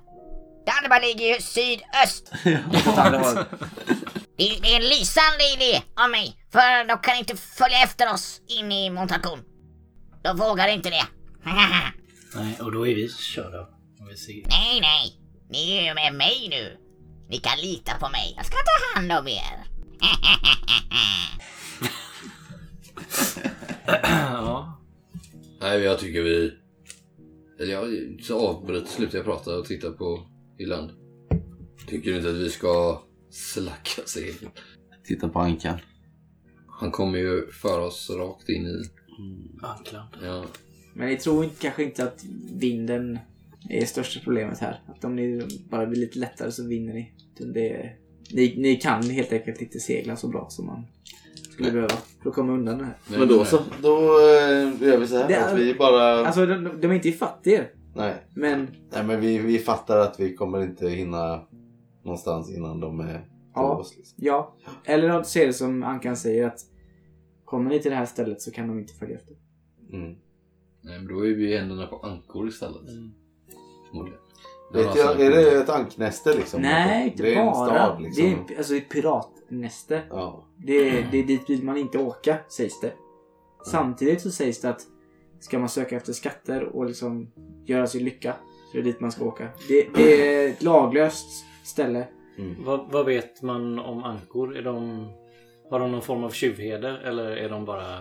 Darba ligger ju sydöst. åt andra hållet. Det, det är en lysande idé av mig. För de kan inte följa efter oss in i Montarkun. De vågar inte det. Nej, och då är vi körda. Om vi ser. nej, nej. Ni är ju med mig nu. Ni kan lita på mig. Jag ska ta hand om er. Ja. Nej, jag tycker vi... Eller jag så avbröt, slutade jag prata och titta på Irland. Tycker du inte att vi ska slacka sig? Titta på Ankan. Han kommer ju föra oss rakt in i... Ankland. Ja. Men ni tror inte, kanske inte att vinden är största problemet här. Att om ni bara blir lite lättare så vinner ni. Utan Det, ni, ni kan helt enkelt inte segla så bra som man skulle behöva för att komma undan det här. Men då så. Då eh, gör vi så här. Det är- Att vi bara... Alltså de, de är inte ifatt er. Nej. Men Nej, men vi, vi fattar att vi kommer inte hinna någonstans innan de är på Ja. oss. Liksom. ja. Eller att se det som Ankan säger att kommer ni till det här stället så kan de inte följa efter. Mm. Mm. Nej, men alltså, då är vi i händerna på ankor istället. Förmodligen. Det Vet var jag, så- är det ett anknäste liksom? Nej, inte det är bara. En stad, liksom. Det är en- alltså ett piratnäste. ja. Det är, det är dit vill man inte åka, sägs det. Samtidigt så sägs det att ska man söka efter skatter och liksom göra sin lycka så är det dit man ska åka. Det, det är ett laglöst ställe. Vad, vad vet man om ankor? Är de, har de någon form av tjuvheder eller är de bara...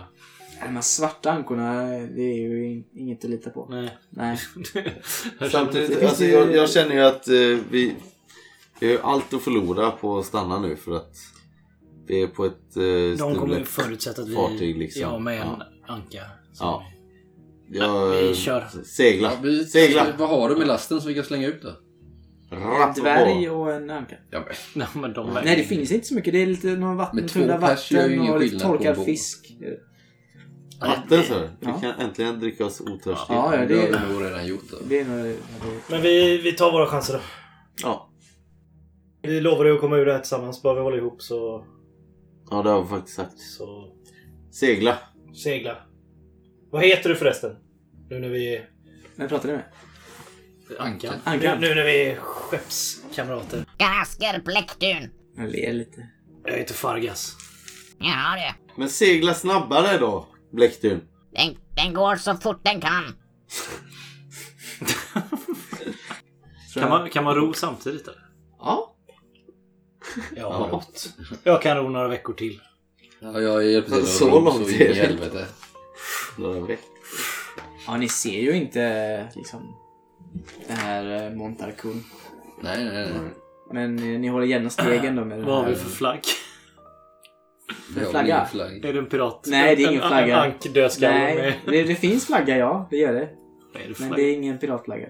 De här svarta ankorna, det är ju in- inget att lita på. Nej. Nej. Jag känner- Det Samtidigt, finns alltså, ju- jag, jag känner ju att eh, vi... Vi har ju allt att förlora på att stanna nu för att vi är på ett eh, de kommer ju stulet förutsätta att vi... fartyg liksom. Typ Ja, med en Ja. anka. Så Ja. vi- Jag, Vi eh, kör. Segla. Ja, vi, Segla. Vad har du med lasten som vi kan slänga ut då? En Rapp dvärg på. och en anka. Ja, men, Nej, men de Nej, det finns inte så mycket. Det är lite någon Men vatten, två tunna pers gör ju vatten ingen och lite skillnad på torkad bo. fisk. Vatten så. Vi Ja. kan äntligen dricka oss otörstiga. Ja, ja, det har det, vi nog redan gjort. Då. det är nog... Men vi, vi tar våra chanser då. Ja. Vi lovade ju att komma ur det här tillsammans. Bara vi håller ihop så, ja, det har vi faktiskt sagt. så Segla. segla. Vad heter du förresten? Nu när vi är, Vem pratar du med? Ankan. nu, Ankan? nu när vi är skeppskamrater. Garasker Bläckdun. Han ler lite. Jag heter Fargas. Ja du. Men segla snabbare då, Bläckdun. Den, den går så fort den kan. Kan man, kan man ro samtidigt eller? Ja. Jag har rott. Jag kan ro några veckor till. Ja, jag hjälper till att Så ro långt in är i det. helvete. Några veckor. Ja, ni ser ju inte liksom den här eh, Montarkun. Nej, nej, nej. Men eh, ni håller jämna stegen då med den Vad har vi här. för flagg? Vi har flagga. ingen flagg. Är det en pirat? Nej, det är En- ingen en- flagga. En ankdödskalle med... Nej, det, det finns flagga ja, det gör det. Vad är det för Men flagga? det är ingen piratflagga.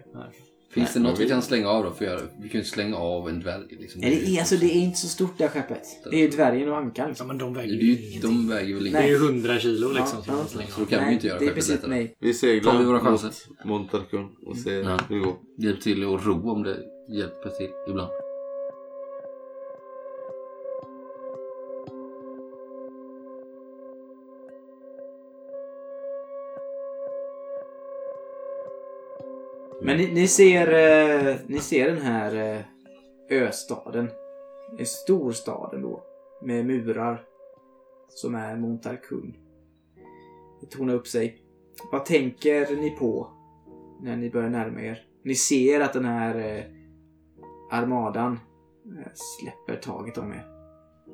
Finns det Nej, något vi kan slänga av då? För jag, vi kan ju inte slänga av en dvärg. Liksom. Nej, det är, alltså, det är inte så stort det här skeppet. Det är ju dvärgen och ankan Ja, liksom. men de Det väger är ju ju, ingenting. de väger väl Det är ingenting. ju 100 kilo liksom. Ja, som man ja. slänger Så då av. kan vi Nej, ju inte göra det är skeppet precis lättare. mig. Vi seglar Tar vi våra mot chanser? Montarkun och ser Ja. hur det går. Hjälp till att ro om det hjälper till ibland. Men ni, ni ser eh, ni ser den här eh, östaden. En stor stad ändå. Med murar. Som är Montarkun. Det tornar upp sig. Vad tänker ni på när ni börjar närma er? Ni ser att den här eh, armadan eh, släpper taget om er.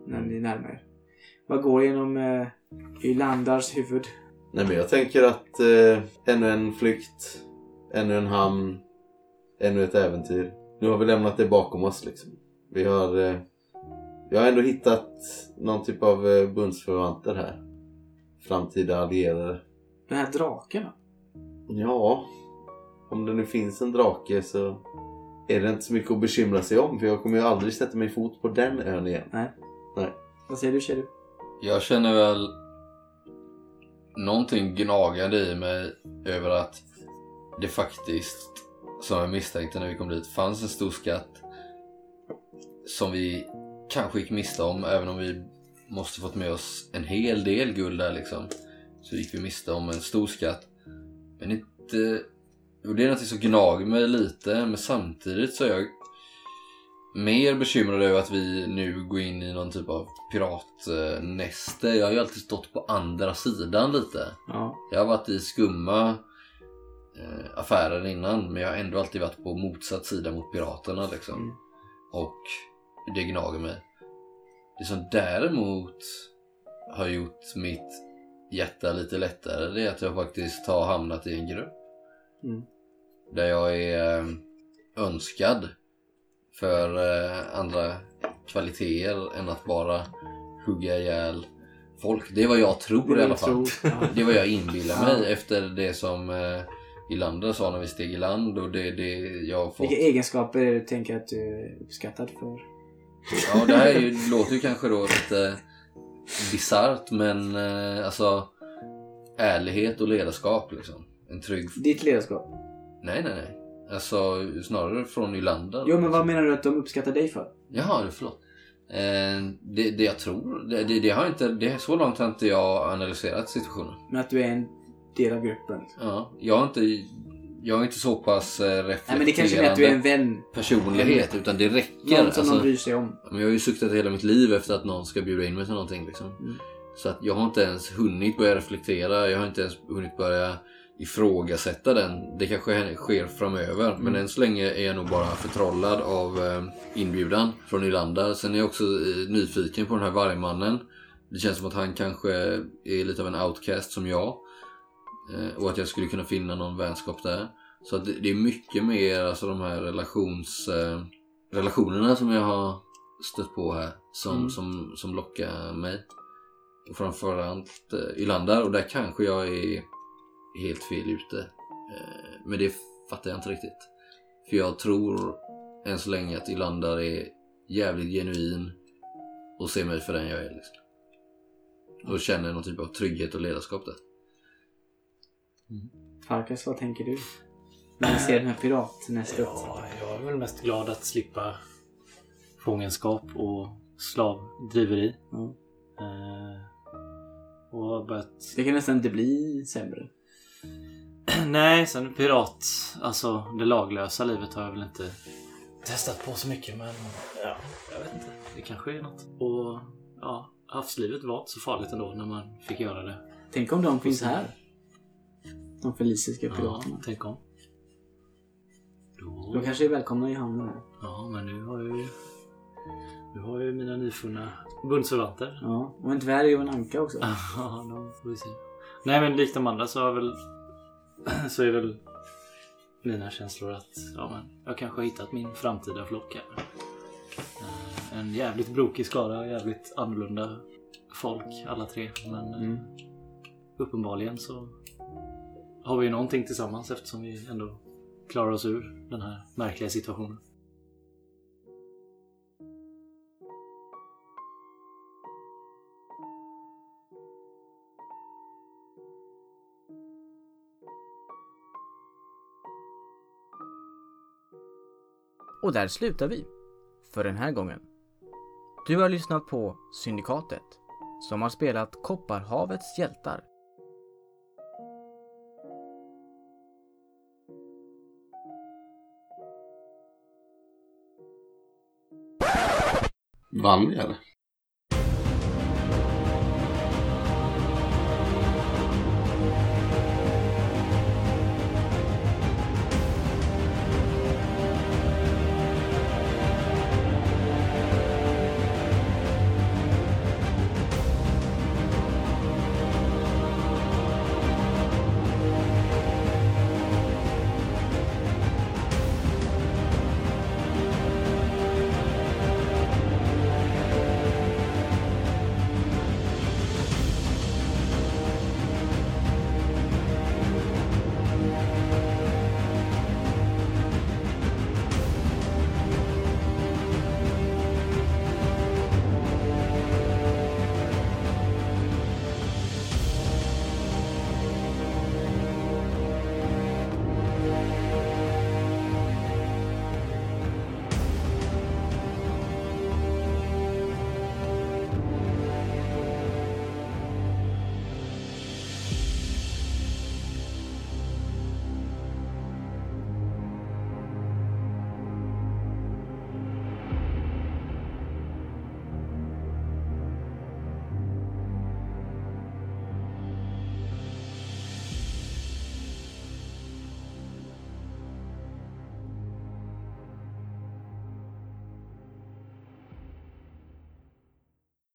När ni närmar er. Vad går genom eh, Ylandars huvud? Nej men jag tänker att eh, ännu en flykt, ännu en hamn, ännu ett äventyr. Nu har vi lämnat det bakom oss liksom. Vi har, eh, vi har ändå hittat någon typ av eh, bundsförvanter här. Framtida allierade. Den här draken va? Ja, om det nu finns en drake så är det inte så mycket att bekymra sig om för jag kommer ju aldrig sätta min fot på den ön igen. Vad säger du Kjell? Jag känner väl någonting gnagande i mig över att det faktiskt, som jag misstänkte när vi kom dit, fanns en stor skatt som vi kanske gick miste om även om vi måste fått med oss en hel del guld där liksom. Så gick vi miste om en stor skatt. Men inte... Och det är något som gnager mig lite men samtidigt så är jag mer bekymrad över att vi nu går in i någon typ av piratnäste. Jag har ju alltid stått på andra sidan lite. Ja. Jag har varit i skumma eh, affärer innan men jag har ändå alltid varit på motsatt sida mot piraterna liksom. Mm. Och det gnager mig. Det som däremot har gjort mitt hjärta lite lättare det är att jag faktiskt har hamnat i en grupp. Mm. Där jag är eh, önskad för eh, andra kvaliteter än att bara hugga ihjäl folk. Det är vad jag tror i alla fall. Ja. Det var jag inbillar Ja. mig efter det som eh, Ilander sa när vi steg i land och det, det jag har fått. Vilka egenskaper är det du tänker att du är uppskattad för? Ja, det här är ju, låter ju kanske då lite bisarrt men eh, alltså ärlighet och ledarskap liksom. En trygg... Ditt ledarskap? Nej, nej, nej. Alltså snarare från Ylander. Alltså. Jo, men vad menar du att de uppskattar dig för? Jaha, du, förlåt. Eh, det, det jag tror, det, det, det har inte, det, så långt har inte jag analyserat situationen. Men att du är en del av gruppen? Ja, jag har inte Jag är inte så pass eh, Nej men det kanske är att du är en reflekterande vän. personlighet utan det räcker. alltså. Någon som Alltså- de bryr sig om. Men jag har ju suktat hela mitt liv efter att någon ska bjuda in mig till någonting. Liksom. Mm. Så att jag har inte ens hunnit börja reflektera. Jag har inte ens hunnit börja ifrågasätta den. Det kanske hän- sker framöver. Men Mm. än så länge är jag nog bara förtrollad av eh, inbjudan från Nylander. Sen är jag också eh, nyfiken på den här vargmannen. Det känns som att han kanske är lite av en outcast som jag. Eh, Och att jag skulle kunna finna någon vänskap där. Så att det det är mycket mer alltså de här relations, eh, relationerna som jag har stött på här som, som, som lockar mig. Och framförallt eh, Ylander och där kanske jag är helt fel ute. Eh, men det fattar jag inte riktigt. För jag tror än så länge att Ylander är jävligt genuin och ser mig för den jag är. Liksom. Och känner någon typ av trygghet och ledarskap där. Farkas, vad tänker du? När du ser den här piratnästet. Ja, jag är väl mest glad att slippa fångenskap och slavdriveri. Ja. Eh, och har börjat... Det kan nästan inte bli sämre. Nej, sen pirat, alltså det laglösa livet har jag väl inte testat på så mycket men ja, jag vet inte. Det kanske är något. Och ja, havslivet var inte så farligt ändå när man fick göra det. Tänk om de finns här. De felisiska Ja, piraterna. tänk om. Då... De kanske är välkomna i hamnen här. Ja, men nu har jag ju... Nu har jag ju mina nyfunna bundsförvanter. Ja, och en dvärg och en anka också. Ja, de får vi se. Nej, men likt de andra så har väl... Så är väl mina känslor att ja, men jag kanske har hittat min framtida flock här. Eh, En jävligt brokig skara, jävligt annorlunda folk alla tre. Men eh, Mm. uppenbarligen så har vi ju någonting tillsammans eftersom vi ändå klarar oss ur den här märkliga situationen. Och där slutar vi. För den här gången. Du har lyssnat på Syndikatet som har spelat Kopparhavets hjältar. Vann vi eller?